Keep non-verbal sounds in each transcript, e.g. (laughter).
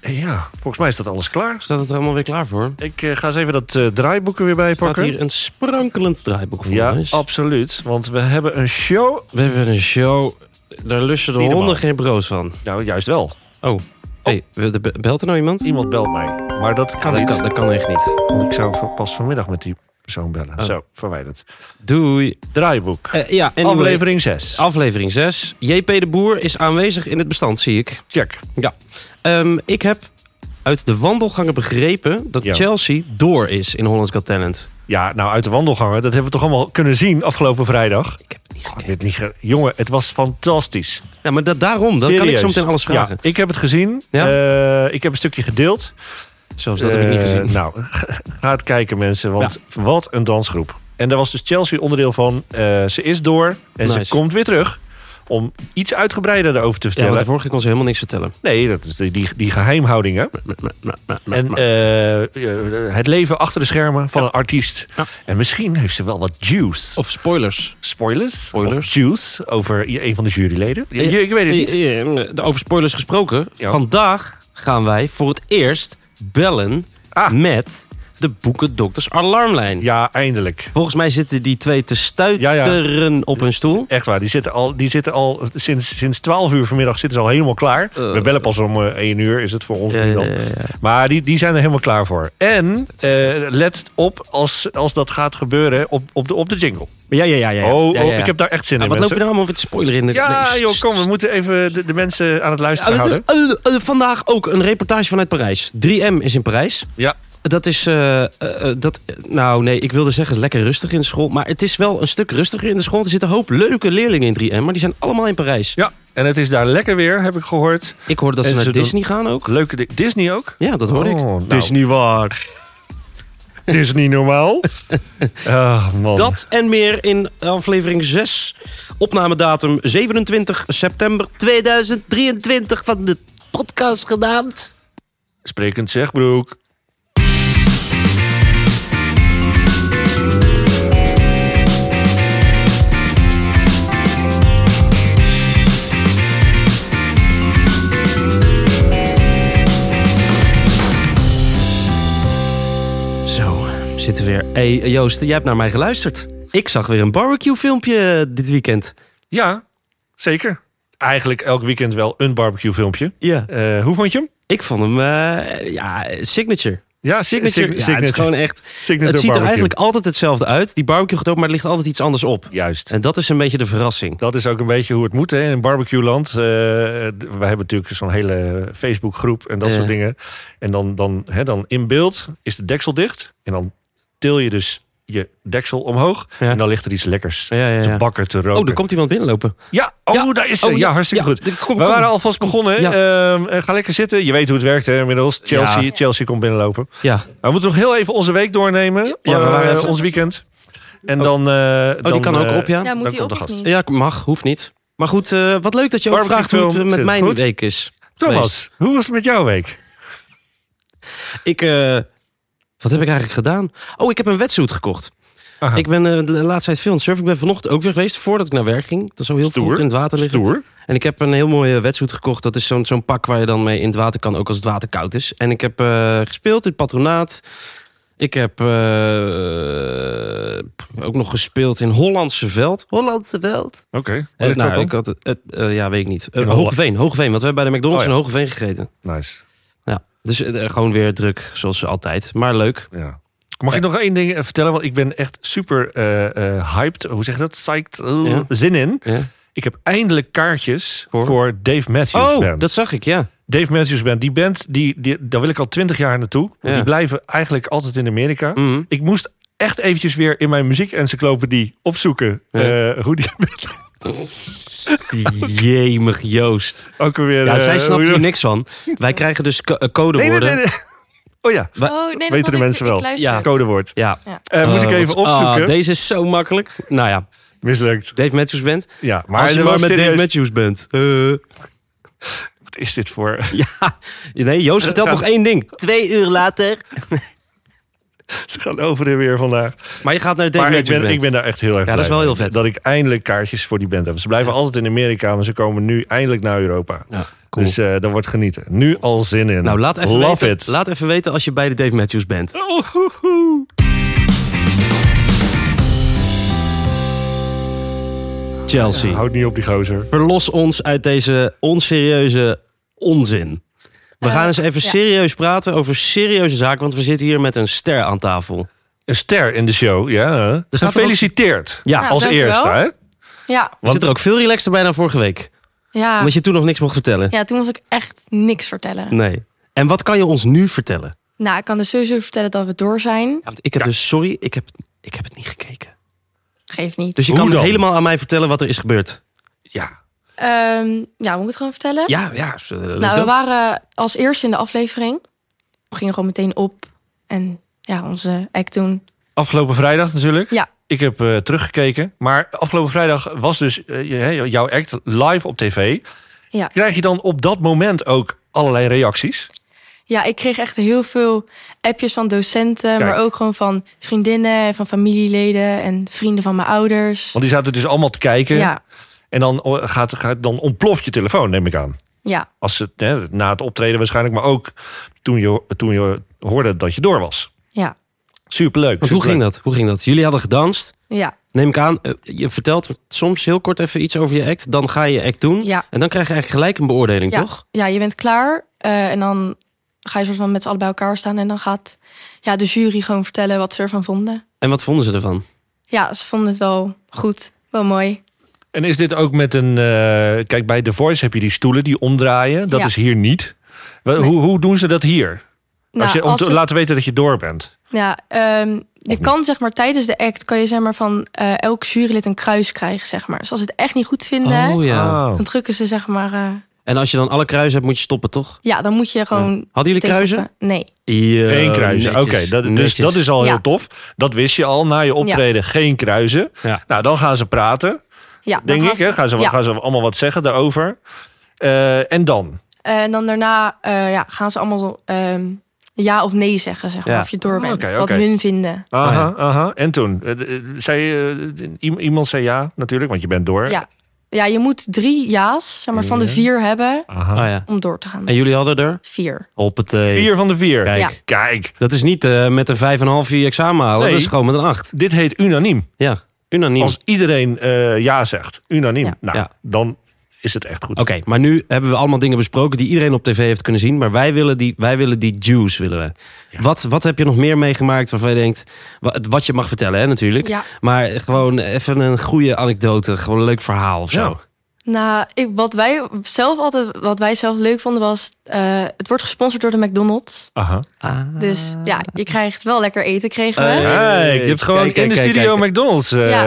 Eh, Ja, volgens mij is dat alles klaar. Staat het er allemaal weer klaar voor? Ik eh, ga eens even dat eh, draaiboek er weer bij Staat pakken. hier een sprankelend draaiboek voor ja, ons. absoluut. Want we hebben een show. We hebben een show, daar lussen de Niet normaal. honden geen broos van. Nou, juist wel. Oh, hey, we- de- belt er nou iemand? Ah, Iemand belt mij. Maar dat kan dat, niet. kan, dat kan echt niet. Want ik zou van- pas vanmiddag met die persoon bellen. Oh. Zo, verwijderd. Doei. Draaiboek. Eh, ja, en Ah. Aflevering 6. aflevering 6. JP de Boer is aanwezig in het bestand, zie ik. Check. Ja. Ehm, ik heb uit de wandelgangen begrepen dat Ja. Chelsea door is in Hollands Got Talent. Ja, nou uit de wandelgangen. Dat hebben we toch allemaal kunnen zien afgelopen vrijdag. Ik heb het niet Ik gekeken. weet niet ge- Jongen, het was fantastisch. Ja, maar dat, daarom, dan kan ik Serieus. zo meteen alles vragen. Ja, ik heb het gezien. Ja? Eh, ik heb een stukje gedeeld. Zelfs dat heb ik niet Eh, gezien. Nou, (laughs) ga het kijken mensen, want wat een dansgroep. En daar was dus Chelsea onderdeel van. Eh, ze is door en ze Nice. komt weer terug. Om iets uitgebreider daarover te ja, vertellen. want de vorige keer kon ze helemaal niks vertellen. nee, dat is die, die, die geheimhoudingen. En eh, eh, het leven achter de schermen van een artiest. Ja. En misschien heeft ze wel wat juice. Of spoilers. spoilers. Spoilers. Of juice over i- een van de juryleden. Je, je- ik weet het niet. Eh, eh, eh, Over spoilers gesproken. Ja. Vandaag gaan wij voor het eerst bellen Ah. met de Boekendokters Alarmlijn. Ja, eindelijk. Volgens mij zitten die twee te stuiteren op hun stoel. Echt waar, die zitten al, die zitten al sinds, sinds 12 uur vanmiddag zitten ze al helemaal klaar. Eh. We bellen pas om eh, 1 uur, is het voor ons Ja, nu ja, dan. ja, ja. Maar die, die zijn er helemaal klaar voor. En eh, let op als, als dat gaat gebeuren op, op, de, op de jingle. Ja, ja, ja. ja, ja. Oh, oh Ja, ja, ja. ik heb daar echt zin Ah, in, wat loop je mensen. nou allemaal weer te spoileren in de... Ja, nee, joh, st- kom, we moeten even de, de mensen aan het luisteren Ah, houden. dit- eh, eh, vandaag ook een reportage vanuit Parijs. 3M is in Parijs. Ja. Dat is, eh, eh, eh, dat, eh, nou nee, ik wilde zeggen lekker rustig in de school. Maar het is wel een stuk rustiger in de school. Er zitten een hoop leuke leerlingen in 3M, maar die zijn allemaal in Parijs. Ja, en het is daar lekker weer, heb ik gehoord. Ik hoorde dat ze En naar ze doen- Disney gaan ook. Oh, Leuke di- Disney ook. Ja, dat hoorde ik. Dus nou, Disney (laughs) waar. Het is niet (laughs) normaal. Ah, man. Dat en meer in aflevering 6. Opnamedatum 27 september 2023 van de podcast genaamd. Sprekend zeg, broek. Zo, we zitten weer. Hé hey, Joost, jij hebt naar mij geluisterd. Ik zag weer een barbecue filmpje dit weekend. Ja, zeker. Eigenlijk elk weekend wel een barbecue filmpje. Ja. Eh, hoe vond je hem? Ik vond hem, eh, ja, signature. Ja, Signature, ja, het is gewoon echt... signature Het ziet er barbecue. eigenlijk altijd hetzelfde uit. Die barbecue gaat open, maar er ligt altijd iets anders op. Juist. En dat is een beetje de verrassing. Dat is ook een beetje hoe het moet hè, in barbecueland. Eh d- we hebben natuurlijk zo'n hele Facebookgroep en dat Ja. soort dingen. En dan, dan, hè, dan in beeld is de deksel dicht. En dan til je dus je deksel omhoog. Ja. En dan ligt er iets lekkers Ja, ja, te ja. bakken, te roken. Oh, er komt iemand binnenlopen. Ja, oh, Ja. daar is ze. Oh, ja, hartstikke ja. goed. Kom, kom. We waren alvast begonnen. Ehm, eh, ga lekker zitten. Je weet hoe het werkt hè, inmiddels. Chelsea, Ja. Chelsea komt binnenlopen. Nou, Ja. oh, We moeten nog heel even onze week doornemen. Ja, we Eh, waren even- ons weekend. En dan... eh, Oh, die dan, kan ook eh, op, ja. Ja, moet Dan die komt op de of gast. niet? Ja, mag, hoeft niet. Maar goed, eh, wat leuk dat je ook Barbecue vraagt hoe het film eh, met zit mijn goed. week is. Thomas, hoe was het met jouw week? Ik, eh, wat heb ik eigenlijk gedaan? Oh, ik heb een wetsuit gekocht. Aha. Ik ben eh, de laatste tijd veel aan het surfen. Ik ben vanochtend ook weer geweest, voordat ik naar werk ging. Dat is al heel Stoer. vroeg in het water liggen. Stoer. En ik heb een heel mooie wetsuit gekocht. Dat is zo'n zo'n pak waar je dan mee in het water kan, ook als het water koud is. En ik heb eh, gespeeld in het patronaat. Ik heb eh, ook nog gespeeld in Hollandse Veld. Hollandse Veld? Oké. Eh, Waar ligt nou, dat dan? ik had, het- het- eh, ja, weet ik niet. Eh, In Holland. Hoogeveen, Hoogeveen. Want we hebben bij de McDonald's Oh, in Hoogeveen gegeten. Nice. Ja, dus eh, gewoon weer druk, zoals altijd. Maar leuk. Ja. Mag ik nog één ding eh, vertellen? Want ik ben echt super eh, eh, hyped. Hoe zeg je dat? Psyched. Eh, Ja. Zin in. Ja. Ik heb eindelijk kaartjes Voor? voor, Dave Matthews Oh, Band. dat zag ik, ja. Dave Matthews Band. Die band, die, die, daar wil ik al twintig jaar naartoe. Ja. Die blijven eigenlijk altijd in Amerika. Mhm. Ik moest echt eventjes weer in mijn muziekencyclopedie opzoeken... Ja. eh, hoe die band Jemig Joost. ook alweer... Ja, eh, zij snapt hoe die- hier niks van. Wij krijgen dus co- eh, Nee, nee, nee, codewoorden. nee. Oh ja, Wa- Oh, nee, dat Weten had de ik- mensen ik wel. luister. Ja. codewoord. Ja. Eh, moest ik Oh, even wat- ah, opzoeken. deze is zo makkelijk. Nou ja, Mislukt. Dave Matthews Band. Ja, maar, Maar als je er maar was met Dave serieus- Matthews bent. Eh, Wat is dit voor... (laughs) (laughs) ja, nee, Joost vertelt nog één ding. Twee uur later. Ze gaan over en weer vandaag. Maar je gaat naar Dave Maar ik Matthews ben, Band. ik ben daar echt heel erg Ja, dat blij is wel mee. heel vet. Dat ik eindelijk kaartjes voor die band heb. Ze blijven altijd in Amerika, maar ze komen nu eindelijk naar Europa. Ja. Cool. Dus eh daar wordt genieten. Nu al zin in. Nou, laat even, Love weten, it. laat even weten als je bij de Dave Matthews bent. Oh, hoe, hoe. Chelsea. Houd niet op die gozer. verlos ons uit deze onserieuze onzin. We Eh, gaan eens even ja. serieus praten over serieuze zaken, want we zitten hier met een ster aan tafel. Een ster in de show, ja. staat er ook- Gefeliciteerd. Ja, Nou, Als dankjewel. eerste, hè? Ja, we zitten er ook veel relaxter bij dan vorige week. ja. Omdat je toen nog niks mocht vertellen. ja, toen moest ik echt niks vertellen. Nee. En wat kan je ons nu vertellen? Nou, ik kan dus sowieso vertellen dat we door zijn. Ja, want ik heb dus, sorry, ik heb, ik heb het niet gekeken. Geeft niet. Dus je Hoe kan dan? helemaal aan mij vertellen wat er is gebeurd. Ja. Ehm, ja, we moeten gewoon vertellen. Ja, ja. eh, let's nou, we go. waren als eerste in de aflevering. We gingen gewoon meteen op. En ja, onze act doen. Afgelopen vrijdag natuurlijk. Ja. Ik heb eh, teruggekeken. Maar afgelopen vrijdag was dus eh, je- hè, jouw act live op tv. Ja. Krijg je dan op dat moment ook allerlei reacties? Ja, ik kreeg echt heel veel appjes van docenten. Kijk. Maar ook gewoon van vriendinnen, en van familieleden en vrienden van mijn ouders. Want die zaten dus allemaal te kijken. Ja, En dan, oh, gaat, gaat, dan ontploft je telefoon, neem ik aan. ja, Als het, hè, na het optreden waarschijnlijk, maar ook toen je, toen je hoorde dat je door was. ja, Superleuk. Want hoe ging dat? Hoe ging dat? Jullie hadden gedanst. ja, Neem ik aan, eh, je vertelt soms heel kort even iets over je act. Dan ga je je act doen. ja. En dan krijg je eigenlijk gelijk een beoordeling, Ja. toch? Ja, je bent klaar. eh, en dan ga je soort van met z'n allen bij elkaar staan. En dan gaat ja, de jury gewoon vertellen wat ze ervan vonden. En wat vonden ze ervan? Ja, ze vonden het wel goed. Wel mooi. En is dit ook met een... eh, kijk, bij The Voice heb je die stoelen die omdraaien. Dat Ja. is hier niet. Wel, Nee. Hoe, hoe doen ze dat hier? als Nou, je, om als te het- laten weten dat je door bent. ja, ehm, je kan zeg maar tijdens de act kan je zeg maar van eh, elk jurylid een kruis krijgen zeg maar. Dus als ze het echt niet goed vinden, Oh ja. Oh. dan drukken ze zeg maar. eh, En als je dan alle kruisen hebt, moet je stoppen, toch? ja, dan moet je gewoon. Hadden jullie kruisen? tegenstappen. Nee. Ja, Geen kruisen. Oké, Ehm, netjes, dat, dus netjes. dat is al Ja. heel tof. Dat wist je al na je optreden. Geen kruisen. Ja. Nou, dan gaan ze praten, Ja, dan denk gaan ik. ze- Hè? Gaan, ze, ja. gaan ze allemaal wat zeggen daarover. Eh, en Oh, dan? En dan daarna eh, ja, gaan ze allemaal ehm, ja of nee zeggen, zeg maar. Ja. Of je door Oh, bent. oké, Wat oké. hun vinden. Aha, ja. aha. En toen? Eh, eh, Zei, eh, i- iemand zei ja, natuurlijk, want je bent door. Ja. ja, je moet drie ja's, zeg maar, van de Ja. vier hebben Aha. Ah, ja. om door te gaan. En jullie hadden er? Vier. Op het. eh, Vier van de vier. Kijk. Ja. Kijk, Dat is niet eh, met een 5,5 je examen halen. Nee. Oh. Dat is gewoon met een 8. dit heet unaniem. Ja, unaniem. Als iedereen eh, ja zegt, unaniem, Ja. Nou, Ja. dan is het echt goed. Oké, maar nu hebben we allemaal dingen besproken die iedereen op tv heeft kunnen zien. Maar wij willen die, wij willen die juice, willen we. Wat, wat heb je nog meer meegemaakt waarvan je denkt... wa- Wat je mag vertellen, hè, natuurlijk. Ja. Maar gewoon even een goede anekdote. Gewoon een leuk verhaal of zo. Ja. Nou, ik, wat wij zelf altijd, wat wij zelf leuk vonden was, eh, het wordt gesponsord door de McDonald's. Aha. Ah. Dus ja, je krijgt wel lekker eten, kregen we. Eh, ja. Kijk, je hebt gewoon Kijk, in de kijk, kijk, studio kijk. McDonald's. eh, Ja.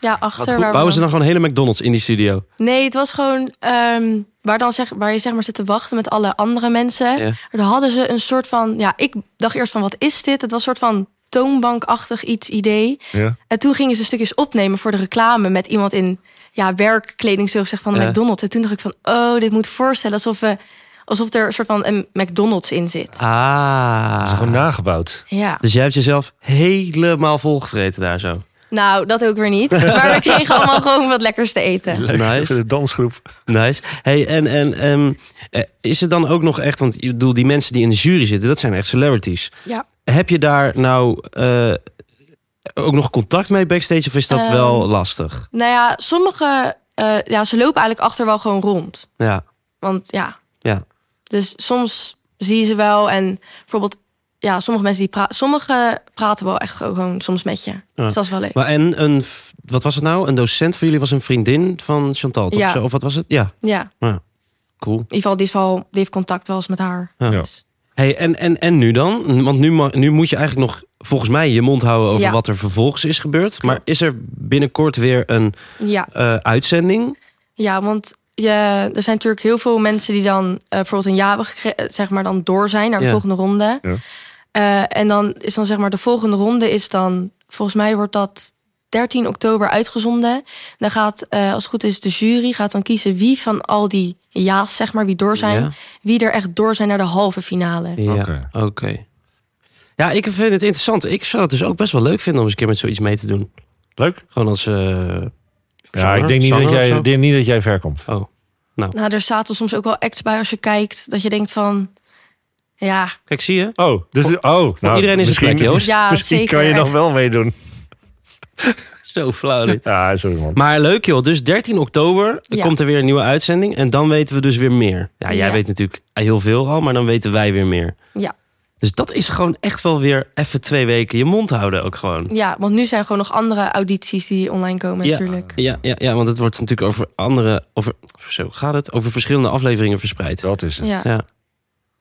ja, Wat achter goed, waar we bouwen ze dan dan- gewoon hele McDonald's in die studio? Nee, het was gewoon ehm, waar, dan zeg, waar je zeg maar zit te wachten met alle andere mensen. Ja. Daar hadden ze een soort van, ja, ik dacht eerst van, wat is dit? Het was een soort van toonbankachtig iets idee. ja. En toen gingen ze stukjes opnemen voor de reclame met iemand in ja, werkkleding, zo gezegd, van de Ja. McDonald's. En toen dacht ik van, oh, dit moet voorstellen alsof, we, alsof er een soort van een McDonald's in zit. Dat is Ah. gewoon nagebouwd. Ja, Dus jij hebt jezelf helemaal volgevreten daar zo. nou, dat ook weer niet. Maar we kregen (laughs) allemaal gewoon wat lekkers te eten. Leuk, Nice. even de dansgroep. Nice. Hey, en, en ehm, eh, is het dan ook nog echt, want ik bedoel, die mensen die in de jury zitten, dat zijn echt celebrities. Ja. Heb je daar nou eh, ook nog contact mee backstage of is dat Ehm. wel lastig? Nou ja, sommige, eh, ja, ze lopen eigenlijk achter wel gewoon rond. Ja, Want ja, ja. dus soms zie je ze wel. En bijvoorbeeld, ja, sommige mensen die praten, sommige praten wel echt gewoon soms met je. Dus dat is wel leuk. Maar en een, v- wat was het nou? Een docent van jullie was een vriendin van Chantal, toch? Ja. Zo, of wat was het? Ja, Ja, in cool. ieder geval, die, is wel, die heeft contact wel eens met haar. Ja. Dus- Hey, en, en, en nu dan? Want nu, ma- nu moet je eigenlijk nog, volgens mij, je mond houden over Ja. wat er vervolgens is gebeurd. Maar is er binnenkort weer een Ja, eh, uitzending? ja want je, er zijn natuurlijk heel veel mensen die dan eh, bijvoorbeeld een jaar eh, zeg maar, dan door zijn naar de Ja. volgende ronde. Ja. Eh, en dan is dan zeg maar de volgende ronde is dan, volgens mij wordt dat 13 oktober uitgezonden. Dan gaat, eh, als het goed is, de jury gaat dan kiezen wie van al die ja's, zeg maar, wie door zijn, Ja. wie er echt door zijn naar de halve finale. Ja, Oké. oké. Ja, ik vind het interessant. Ik zou het dus ook best wel leuk vinden om eens een keer met zoiets mee te doen. Leuk. Gewoon als... eh, Ja, zanger- ik denk niet, zanger dat of jij, zo. ik denk niet dat jij ver komt. Oh, Nou, Nou, er zaten soms ook wel acts bij als je kijkt. Dat je denkt van, ja, kijk, zie je? Oh, dus oh, nou, iedereen is een misschien- plek, Joost. Ja, Misschien zeker, kan je nog echt. wel meedoen. Zo flauw dit. Ja, sorry man. (laughs) Maar leuk joh, dus 13 oktober Ja. komt er weer een nieuwe uitzending. En dan weten we dus weer meer. Ja, jij Ja. weet natuurlijk heel veel al, maar dan weten wij weer meer. ja, Dus dat is gewoon echt wel weer even twee weken je mond houden ook gewoon. ja. Want nu zijn gewoon nog andere audities die online komen natuurlijk. Ja, ja, ja, want het wordt natuurlijk over andere, over, zo gaat het, over verschillende afleveringen verspreid. Dat is het. Ja. Ja.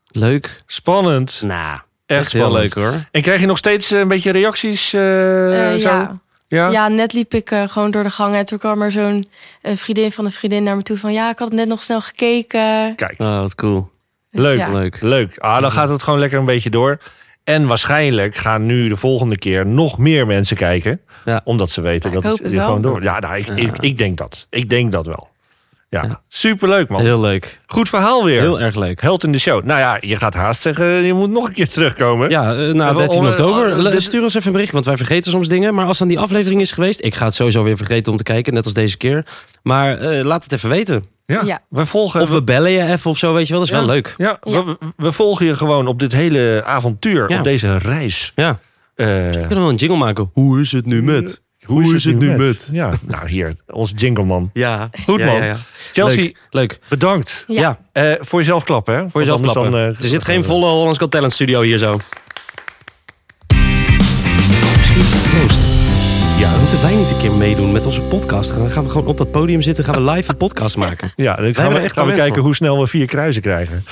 Leuk. Spannend. Nou, Echt echt, heel spannend. leuk hoor. En krijg je nog steeds eh, een beetje reacties? eh, Eh, zo? ja. Ja? ja, net liep ik eh, gewoon door de gang en toen kwam er zo'n eh, vriendin van een vriendin naar me toe van ja, ik had het net nog snel gekeken. Kijk, Oh, wat cool. Dus Leuk, ja. Leuk. leuk. Ah, dan gaat het gewoon lekker een beetje door. En waarschijnlijk gaan nu de volgende keer nog meer mensen kijken. Ja. Omdat ze weten Ja, dat ik hoop het het hier wel. gewoon door. Ja, nou, ik, Ik, ik denk dat. Ik denk dat wel. Ja, superleuk man. Heel leuk. Goed verhaal weer. Heel erg leuk. Held in de show. Nou ja, je gaat haast zeggen, je moet nog een keer terugkomen. Ja, eh, na we- 13 om- oktober. eh, Le- dit- Stuur ons even een bericht, want wij vergeten soms dingen. Maar als dan die aflevering is geweest, ik ga het sowieso weer vergeten om te kijken, net als deze keer. Maar eh, laat het even weten. Ja, Ja. we volgen... Of we bellen je even of zo, weet je wel. Dat is Ja. wel leuk. Ja, Ja. We, we volgen je gewoon op dit hele avontuur, Ja. op deze reis. Ja, Eh, we kunnen wel een jingle maken. Hoe is het nu met? Hoe is het nu met? Ja, nou hier, ons jingleman. Ja, Goed, man. Chelsea, Leuk. Leuk. bedankt. Ja. Ja. Eh, voor jezelf klappen, hè? Voor jezelf klappen. eh, er zit geen volle Hollands Got Talent studio hier zo. Misschien proost. Ja, Moeten wij niet een keer meedoen met onze podcast? Dan gaan we gewoon op dat podium zitten, gaan we live een podcast maken. ja dan gaan hebben we, er echt gaan we talent kijken voor. hoe snel we vier kruisen krijgen.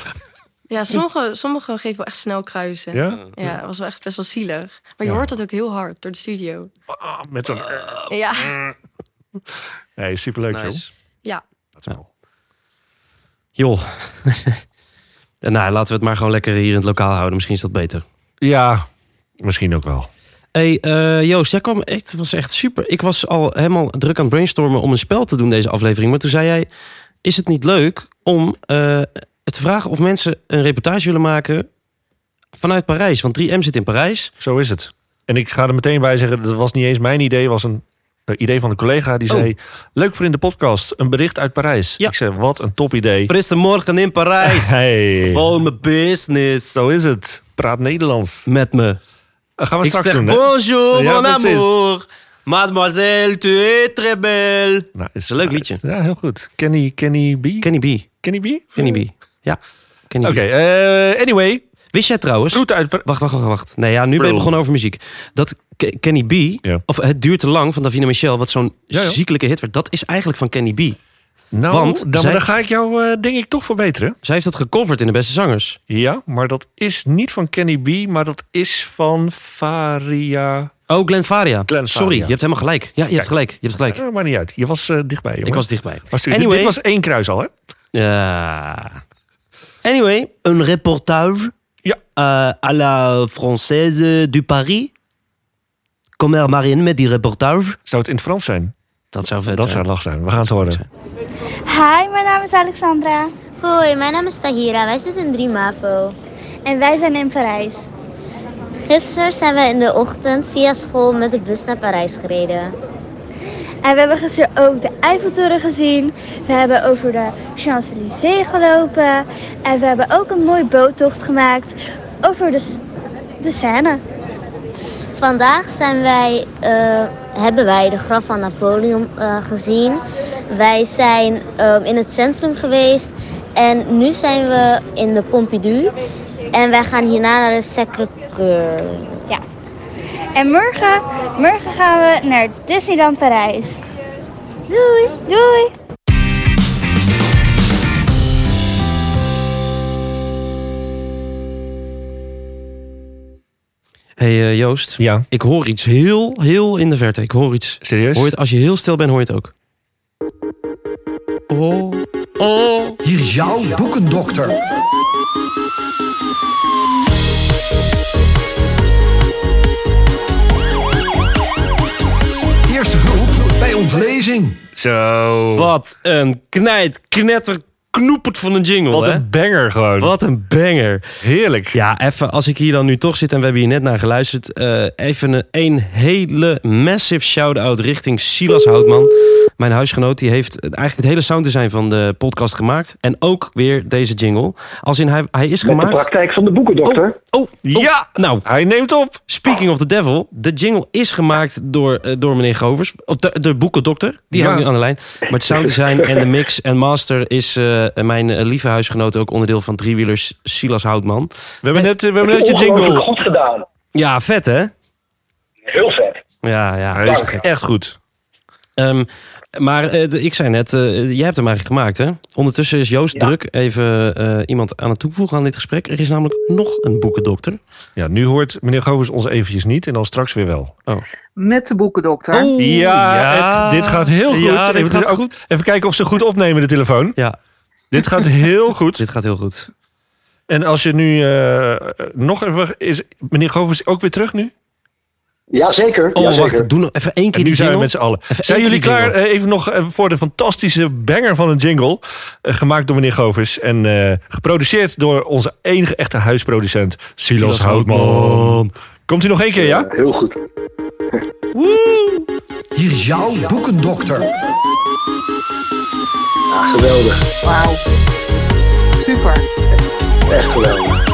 Ja, sommige, sommige geven wel echt snel kruisen. Ja? Ja, dat was wel echt best wel zielig. Maar je Ja. hoort dat ook heel hard door de studio. Ah, met zo'n... Ja, Nee, superleuk, joh. ja. Dat wel. Joh. (laughs) En nou, laten we het maar gewoon lekker hier in het lokaal houden. Misschien is dat beter. Ja, misschien ook wel. hey, eh, Joost, jij kwam echt, was echt super. Ik was al helemaal druk aan het brainstormen om een spel te doen deze aflevering. Maar toen zei jij, is het niet leuk om eh, te vragen of mensen een reportage willen maken vanuit Parijs? Want 3M zit in Parijs. Zo is het. En ik ga er meteen bij zeggen, dat was niet eens mijn idee. was een eh, idee van een collega die Oh. zei... Leuk voor in de podcast, een bericht uit Parijs. Ja. Ik zei, wat een top idee. Frisse morgen in (laughs) Parijs. Hey, Oh, mijn business. zo is het. Praat Nederlands. Met me. Dat Eh, gaan we Ik straks zeg doen, hè? bonjour, Ja, mon precies. amour. Mademoiselle, tu es très belle. Nou, is een leuk liedje. Ja, heel goed. Kenny, Kenny B? Kenny B. Kenny B? Kenny B. Ja. Kenny Oké, B. eh, anyway. Wist jij trouwens... Groeten uit... Par- Wacht, wacht, wacht, wacht. Nee, ja, nu ben je Brul. begonnen over muziek. Dat Ke- Kenny B, Ja. of Het duurt te lang van Davina Michel, wat zo'n Ja, ja. ziekelijke hit werd, dat is eigenlijk van Kenny B. Nou, Want dan, maar zij- dan ga ik jou eh, denk ik toch verbeteren. Zij heeft dat gecoverd in de beste zangers. Ja, maar dat is niet van Kenny B, maar dat is van Faria. Oh, Glenn Faria. Glenn Faria. Sorry, je hebt helemaal gelijk. Ja, je hebt gelijk. Je hebt gelijk. Eh, maakt niet uit. Je was eh, dichtbij, jongen. Ik was dichtbij. Was dit- Anyway. Dit was één kruis al, hè? Ja. Anyway, een reportage Ja. eh, à la française du Paris. Kom er maar in met die reportage. Zou het in het Frans zijn? Dat zou vet dat zijn. zou lach zijn. We gaan het horen. Hi, mijn naam is Alexandra Hoi, mijn naam is Tahira. Wij zitten in 3 MAVO. en wij zijn in Parijs. Gisteren zijn we in de ochtend via school met de bus naar Parijs gereden. En we hebben gisteren ook de Eiffeltoren gezien. We hebben over de Champs-Élysées gelopen. En we hebben ook een mooie boottocht gemaakt over de, S- de Seine. Vandaag zijn wij, eh, hebben wij de graf van Napoleon eh, gezien. Wij zijn ehm, in het centrum geweest en nu zijn we in de Pompidou. En wij gaan hierna naar de Sacré-Cœur. Ja. En morgen, morgen gaan we naar Disneyland Parijs. Doei, doei. hey, eh, Joost. Ja. Ik hoor iets heel, heel in de verte. Ik hoor iets. Serieus? Hoor je het, als je heel stil bent, hoor je het ook. Oh, oh. Hier is jouw boekendokter. Eerste hulp bij ontlezing. Zo. Wat een knijt, knetter, knoepert van een jingle, Wat hè? een banger gewoon. Wat een banger. Heerlijk. Ja, even als ik hier dan nu toch zit en we hebben hier net naar geluisterd. eh, even een, een hele massive shout-out richting Silas Houtman. Mijn huisgenoot, die heeft eigenlijk het hele sounddesign van de podcast gemaakt. En ook weer deze jingle. Als in hij, hij is Met de gemaakt. praktijk van de boekendokter. Oh, oh, Ja! nou. Hij neemt op. Speaking of the devil, de jingle is gemaakt door, eh, door meneer Govers. Of de, de boekendokter, die Ja. hangt nu aan de lijn. Maar het sounddesign en de mix en master is eh, mijn eh, lieve huisgenoot ook onderdeel van driewielers Silas Houtman. We hebben net, eh, we hebben net je Ongelooflijk jingle. goed gedaan. Ja, vet hè? Heel vet. Ja, ja. Hij is echt goed. Ehm, maar eh, de- ik zei net, eh, jij hebt hem eigenlijk gemaakt, hè? Ondertussen is Joost druk even eh, iemand aan het toevoegen aan dit gesprek. Er is namelijk nog een boekendokter. Ja, nu hoort meneer Govers ons eventjes niet en dan straks weer wel. Met de boekendokter. Oh, Ja, het- dit gaat heel goed. Ja, dit Even- gaat ook- goed. Even kijken of ze goed opnemen de telefoon. Ja, Dit gaat (laughs) heel goed. dit gaat heel goed. En als je nu eh, nog even... Is meneer Govers ook weer terug nu? Jazeker. Oh, jazeker. wacht, doe nog even één keer En nu die zijn we jingle. met z'n allen. Even zijn één jullie keer die klaar eh, even nog eh, voor de fantastische banger van een jingle? eh, gemaakt door meneer Govers. En eh, geproduceerd door onze enige echte huisproducent, Silas, Silas Eh, Houtman. Houtman. Komt u nog één keer, ja? Heel goed. Hier is jouw boekendokter. Ja, geweldig. Wauw. Super. Echt geweldig.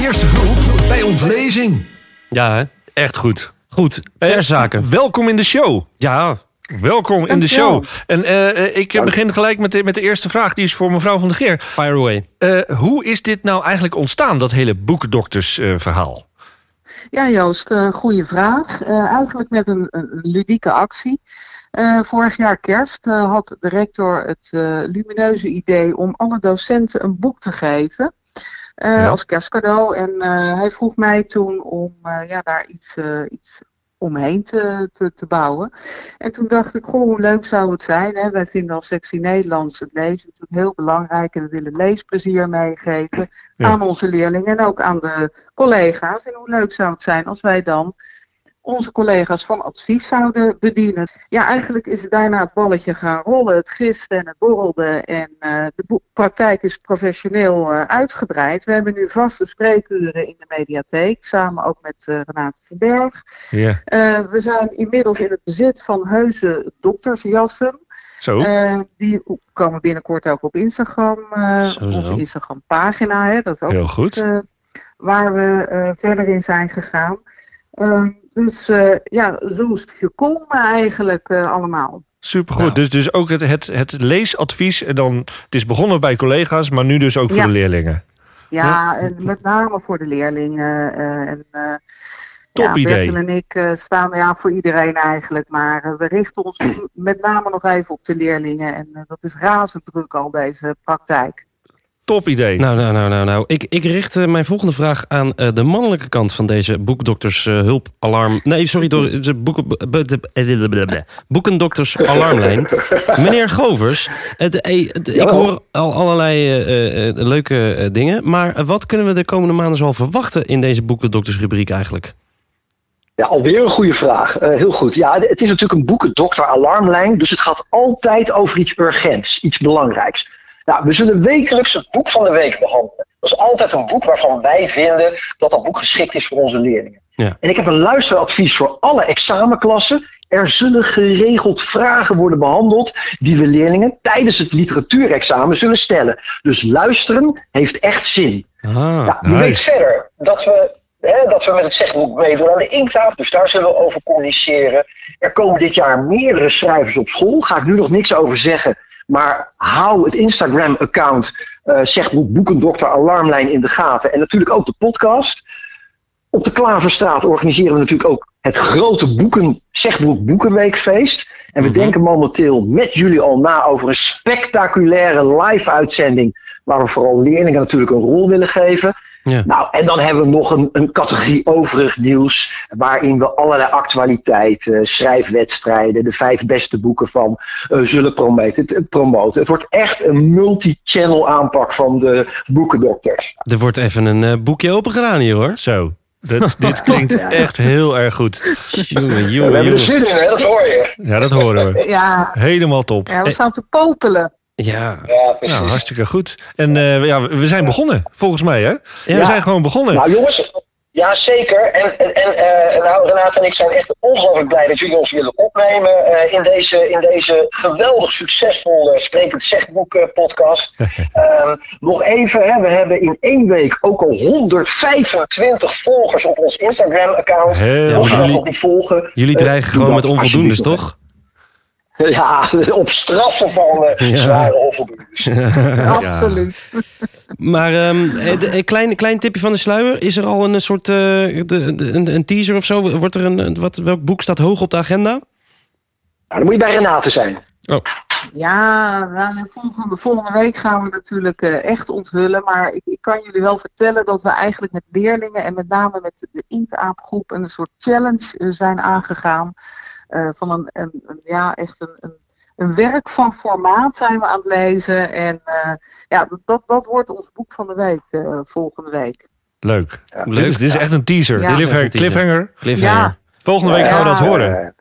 Eerste hulp bij ontlezing. Ja, hè? Echt goed. Eh, Goed, ter zake. Welkom in de show. Ja, Welkom in de show. Dankjewel. En eh, eh, ik eh, begin gelijk met de, met de eerste vraag. Die is voor mevrouw van der Geer. fire away. Eh, hoe is dit nou eigenlijk ontstaan, dat hele eh, boekdoktersverhaal? Ja, Joost, eh goede vraag. Eh, eigenlijk met een, een ludieke actie. Eh, vorig jaar kerst eh, had de rector het eh, lumineuze idee om alle docenten een boek te geven. eh, Ja. Als kerstcadeau. En eh, hij vroeg mij toen om eh, ja, daar iets, eh, iets omheen te, te, te bouwen. En toen dacht ik, goh, hoe leuk zou het zijn. Hè? Wij vinden als sectie Nederlands het lezen natuurlijk heel belangrijk. En we willen leesplezier meegeven Ja. aan onze leerlingen en ook aan de collega's. En hoe leuk zou het zijn als wij dan onze collega's van advies zouden bedienen. Ja, eigenlijk is het daarna het balletje gaan rollen. Het gisten en het borrelde. En eh, de boek- praktijk is professioneel eh, uitgebreid. We hebben nu vaste spreekuren in de mediatheek. Samen ook met eh, Renate van Berg. Ja. Eh, we zijn inmiddels in het bezit van heuse doktersjassen. Zo. Eh, die komen binnenkort ook op Instagram. eh, Zo, op zo. onze Instagram pagina. Hè, dat is ook Heel goed. eh, waar we eh, verder in zijn gegaan. Eh, dus eh, ja, zo is het gekomen eigenlijk eh, allemaal. Supergoed. Nou. Dus, dus ook het, het, het leesadvies. En dan, het is begonnen bij collega's, maar nu dus ook voor Ja. de leerlingen. Ja, en met name voor de leerlingen. eh, en, eh, Top ja, idee. Bertel en ik eh, staan ja, voor iedereen eigenlijk. Maar eh, we (clears throat) richten ons met name nog even op de leerlingen. En eh, dat is razend druk al deze praktijk. Top idee. Nou, nou, nou, nou, nou. Ik, ik richt eh, mijn volgende vraag aan eh, de mannelijke kant van deze boekdokters eh, hulpalarm. Nee, sorry, door de boeken, b- b- de- eh, blablabla. boekendokters alarmlijn. Meneer Govers, het, eh, het- ik Jawel. hoor al allerlei eh, eh, leuke eh, dingen. Maar eh, wat kunnen we de komende maanden zoal verwachten in deze boekendoktersrubriek eigenlijk? Ja, alweer een goede vraag. Eh, heel goed. Ja, het is natuurlijk een boekendokter alarmlijn. Dus het gaat altijd over iets urgents, iets belangrijks. Nou, we zullen wekelijks het boek van de week behandelen. Dat is altijd een boek waarvan wij vinden dat dat boek geschikt is voor onze leerlingen. Ja. En ik heb een luisteradvies voor alle examenklassen. Er zullen geregeld vragen worden behandeld die we leerlingen tijdens het literatuurexamen zullen stellen. Dus luisteren heeft echt zin. Ah, Ja, wie nice. weet verder dat we, hè, dat we met het zegboek meedoen aan de inktaaf. Dus daar zullen we over communiceren. Er komen dit jaar meerdere schrijvers op school. Ga ik nu nog niks over zeggen. Maar hou het Instagram-account eh zegboek Boekendokter Alarmlijn in de gaten. En natuurlijk ook de podcast. Op de Klaverstraat organiseren we natuurlijk ook het grote boeken, zegboek Boekenweekfeest. En we Mhm. denken momenteel met jullie al na over een spectaculaire live-uitzending. Waar we vooral leerlingen natuurlijk een rol willen geven. ja. Nou, en dan hebben we nog een, een categorie overig nieuws. Waarin we allerlei actualiteit, eh, schrijfwedstrijden, de vijf beste boeken van eh, zullen promoten. Het, promoten. het wordt echt een multi-channel aanpak van de boekendokters. Er wordt even een eh, boekje opengedaan hier hoor. Zo. (laughs) Dit, dit klinkt echt heel erg goed. Jongen, we jongen, hebben er jongen. zin in, hè? dat hoor je. Ja, dat horen we. Ja, Helemaal top. (laughs) ja we staan te popelen. Ja. Ja, precies. Nou, hartstikke goed. En eh, ja, we zijn begonnen, volgens mij, hè? We Ja. zijn gewoon begonnen. Nou jongens, ja zeker. En, en, en eh, nou, Renate en ik zijn echt ongelooflijk blij dat jullie ons willen opnemen eh, in, deze, in deze geweldig succesvolle Sprekend Zegboek eh, (laughs) podcast. Ehm, nog even, hè, we hebben in één week ook al 125 volgers op ons Instagram account. Heel Mocht je dat jullie- nog niet volgen. Jullie eh, dreigen doe gewoon dat met onvoldoendes, alsjeblieft nog toch? even. (laughs) Ja, op straffen van eh, Ja. zware onvoldoendes. Nou, Absoluut. Maar ehm, eh, de- een klein, klein tipje van de sluier. Is er al een soort eh, de, de- een, een teaser of zo? Wordt er een, een- wat, welk boek staat hoog op de agenda? Nou, dan moet je bij Renate zijn. Ja, nou, de volgende, volgende week gaan we natuurlijk eh, echt onthullen. Maar ik, ik kan jullie wel vertellen dat we eigenlijk met leerlingen en met name met de Inktaapgroep een soort challenge eh, zijn aangegaan. Eh, van een, een, een- ja, echt een, een, een werk van formaat zijn we aan het lezen. En eh, ja, dat, dat wordt ons boek van de week eh, volgende week. Leuk. Leuk. Dit, is, dit is echt een teaser. Ja. Dit is echt een Cliffhanger. cliffhanger. Cliffhanger. Volgende week gaan we dat Ja. horen.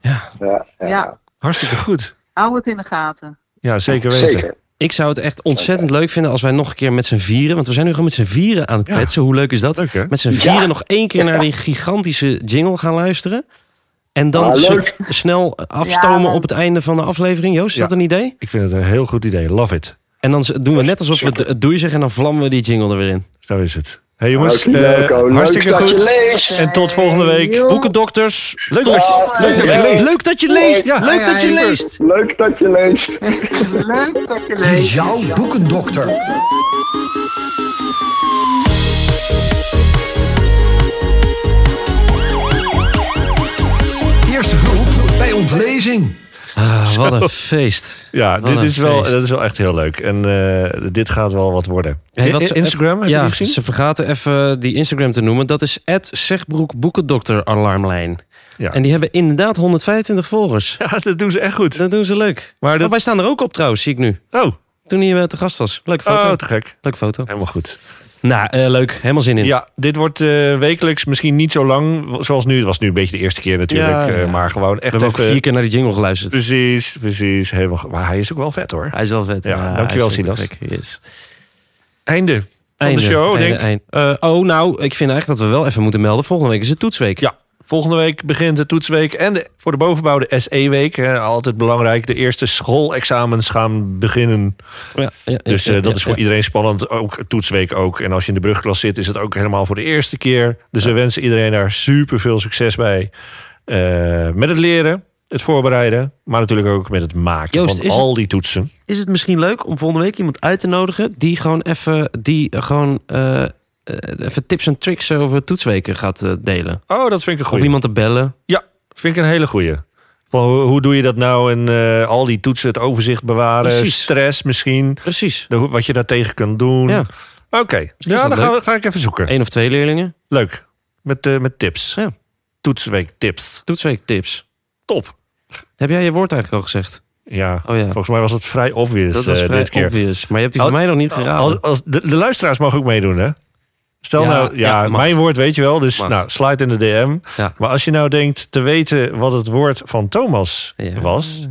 Ja. Ja, ja, Ja, Hartstikke goed. hou het in de gaten. Ja, zeker weten. zeker. Ik zou het echt ontzettend leuk vinden als wij nog een keer met z'n vieren... want we zijn nu gewoon met z'n vieren aan het Ja. kletsen. Hoe leuk is dat? Leuk, hè? Met z'n vieren Ja. nog één keer naar die gigantische jingle gaan luisteren. En dan Ah, s- leuk. snel afstomen Ja, man. op het einde van de aflevering. Joost, is Ja. dat een idee? Ik vind het een heel goed idee. Love it. En dan z- doen we net alsof we het- het doei zeggen... en dan vlammen we die jingle er weer in. Zo is het. hey, jongens, Oké, eh, leuk, oh, leuk hartstikke dat je goed. leest. En tot volgende week. Joe. Boekendokters, Leuk dat je, leuk dat je leest. Leuk dat je leest. Ja. Leuk dat je Ja, ja, leest. Leuk dat je leest. Leuk dat je Dit leest. is jouw boekendokter. Eerste hulp bij ontlezing. Ah, wat een feest. Ja, Wat dit een is wel, feest. dat is wel echt heel leuk. En eh, dit gaat wel wat worden. Hey, In- ze- Instagram, heb je ja, die gezien? ze vergaten even die Instagram te noemen. Dat is Zegbroek Boekendokter Alarmlijn. Ja. En die hebben inderdaad 125 volgers. (laughs) Ja, dat doen ze echt goed. Dat doen ze leuk. Maar dat- Oh, wij staan er ook op trouwens, zie ik nu. Oh, Toen hij eh, te gast was. Leuke foto. oh te gek. Leuke foto. Helemaal goed. Nou, eh, leuk. Helemaal zin in. Ja, dit wordt eh, wekelijks misschien niet zo lang zoals nu. Het was nu een beetje de eerste keer natuurlijk. Ja, eh, ja. maar gewoon echt We hebben ook even- eh, dus- vier keer naar die jingle geluisterd. Precies, precies. Helemaal, ge- maar hij is ook wel vet hoor. Hij is wel vet. Ja, hij dankjewel, is wel Silas. gek. Yes. Einde van Einde, de show, einde, denk ik. einde. Eh, oh, nou, ik vind eigenlijk dat we wel even moeten melden. Volgende week is het toetsweek. Ja, volgende week begint de toetsweek en de, voor de bovenbouw de SE-week. hè, Altijd belangrijk. De eerste schoolexamens gaan beginnen. Ja, ja, ja, Dus eh, ja, dat ja, is voor ja. iedereen spannend. Ook toetsweek ook. En als je in de brugklas zit, is het ook helemaal voor de eerste keer. Dus we wensen iedereen daar super veel succes bij. Eh, met het leren, het voorbereiden, maar natuurlijk ook met het maken Joost, van is het- al die toetsen. Is het misschien leuk om volgende week iemand uit te nodigen die gewoon even, die gewoon, eh, eh, even tips en tricks over toetsweken gaat eh, delen? Oh, dat vind ik een Of goeie. iemand te bellen. Ja, vind ik een hele goeie. Van, hoe, hoe doe je dat nou? En eh, al die toetsen, het overzicht bewaren, Precies. stress misschien. Precies. De, hoe- wat je daartegen kunt doen. Ja. Oké, is ja, dat dan gaan leuk. we, ga ik even zoeken. Eén of twee leerlingen. Leuk. Met, eh, met tips. Ja. Toetsweek tips. Toetsweek tips. Top. Heb jij je woord eigenlijk al gezegd? Ja, Oh ja. volgens mij was het vrij obvious dat was eh, vrij dit keer. obvious. Maar je hebt die Al- van mij nog niet geraden. Als, als de, de luisteraars mogen ook meedoen, hè? Stel Ja, nou, ja, ja, mag. mijn woord weet je wel, dus Mag. nou, slide in de DM. Ja. Maar als je nou denkt te weten wat het woord van Thomas Ja. was,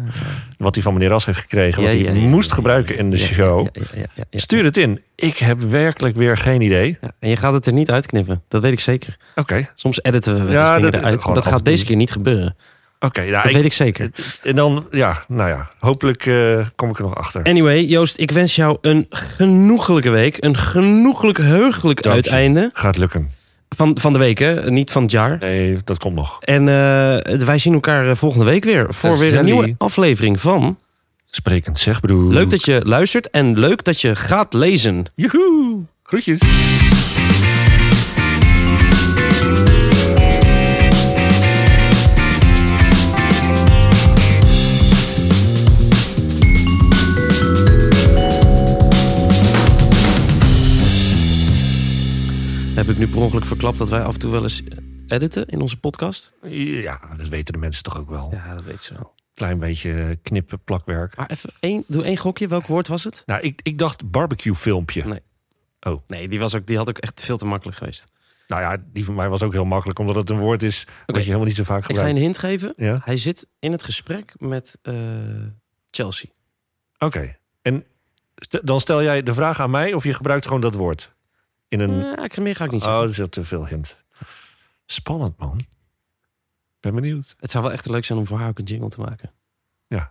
wat hij van meneer Ras heeft gekregen, Ja, wat hij ja, ja, moest ja, gebruiken in de Ja, show, ja, ja, ja, ja, ja. stuur het in. Ik heb werkelijk weer geen idee. Ja, En je gaat het er niet uitknippen. Dat weet ik zeker. Oké, Soms editen we wel eens Ja, dingen dat- eruit. gewoon Maar dat af en gaat toe. deze keer niet gebeuren. oké. nou, Dat ik- weet ik zeker. En dan, ja, nou ja, hopelijk eh, kom ik er nog achter. Anyway, Joost, ik wens jou een genoegelijke week. Een genoegelijk heugelijk Dank je. uiteinde Gaat lukken. van, van de week, hè? niet van het jaar. Nee, dat komt nog. En eh, wij zien elkaar eh, volgende week weer voor weer een Gezellig. nieuwe aflevering van. Sprekend zeg, bedoel. Leuk dat je luistert en leuk dat je gaat lezen. Joehoe, groetjes. Heb ik nu per ongeluk verklapt dat wij af en toe wel eens eh, editen in onze podcast? Ja, dat weten de mensen toch ook wel. Ja, dat weet ze wel. Klein beetje knippen, plakwerk. Maar even één, doe één gokje. Welk woord was het? Nou, ik, ik dacht barbecue filmpje. Nee. Oh. Nee, die, was ook, die had ook echt veel te makkelijk geweest. Nou ja, die van mij was ook heel makkelijk, omdat het een woord is dat Oké. je helemaal niet zo vaak Ik ga je een gebruikt. hint geven. Ja, Hij zit in het gesprek met eh, Chelsea. oké. En st- dan stel jij de vraag aan mij of je gebruikt gewoon dat woord. In een, Ja, Eh, ik, meer ga ik Mm, niet oh, zeggen. dat is wel te veel hint. Spannend, man. Ben benieuwd. Het zou wel echt leuk zijn om voor haar ook een jingle te maken. Ja.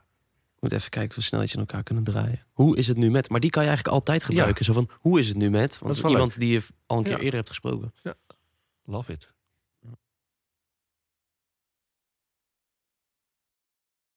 Ik moet even kijken of we snel iets in elkaar kunnen draaien. Hoe is het nu met? Maar die kan je eigenlijk altijd gebruiken. Zo van, hoe is het nu met? Want Dat is wel iemand die je al een keer Ja. eerder hebt gesproken. Love it.